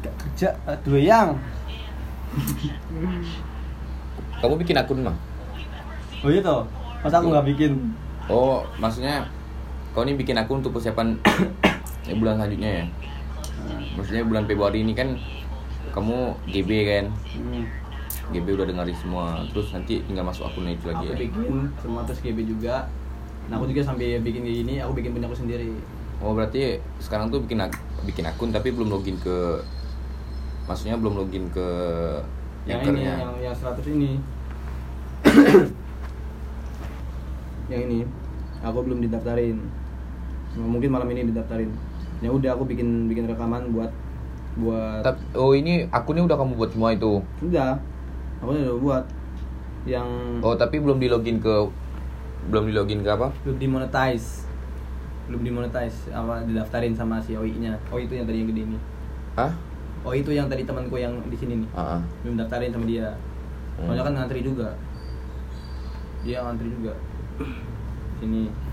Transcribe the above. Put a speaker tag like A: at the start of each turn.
A: tidak kerja eh, doyang
B: Kamu bikin akun mah?
A: oh iya toh masa aku nggak bikin
B: Oh, maksudnya kau ini bikin akun untuk persiapan ya, bulan selanjutnya ya? Maksudnya bulan Februari ini kan kamu GB kan?
A: Hmm.
B: GB udah dengerin semua. Terus nanti tinggal masuk akunnya itu lagi
C: aku
B: ya?
C: bikin sama terus GB juga nah aku juga sambil bikin kayak gini aku bikin punya aku sendiri
B: Oh, berarti sekarang tuh bikin ak- bikin akun tapi belum login ke maksudnya belum login ke
C: yang ini
B: Anchor-nya.
C: yang yang 100 ini yang ini aku belum didaftarin Nah, mungkin malam ini didaftarin ya udah aku bikin bikin rekaman buat buat
B: Tapi, oh ini akunnya udah kamu buat semua itu.
C: udah aku udah buat yang
B: Oh tapi belum di login ke belum di login ke apa?
C: belum dimonetize belum dimonetize apa didaftarin sama si OI nya OI itu yang tadi yang gede ini
B: Hah?
C: OI itu yang tadi temanku yang di sini nih
B: Ah, ah.
C: belum daftarin sama dia soalnya kan ngantri juga dia ngantri juga sini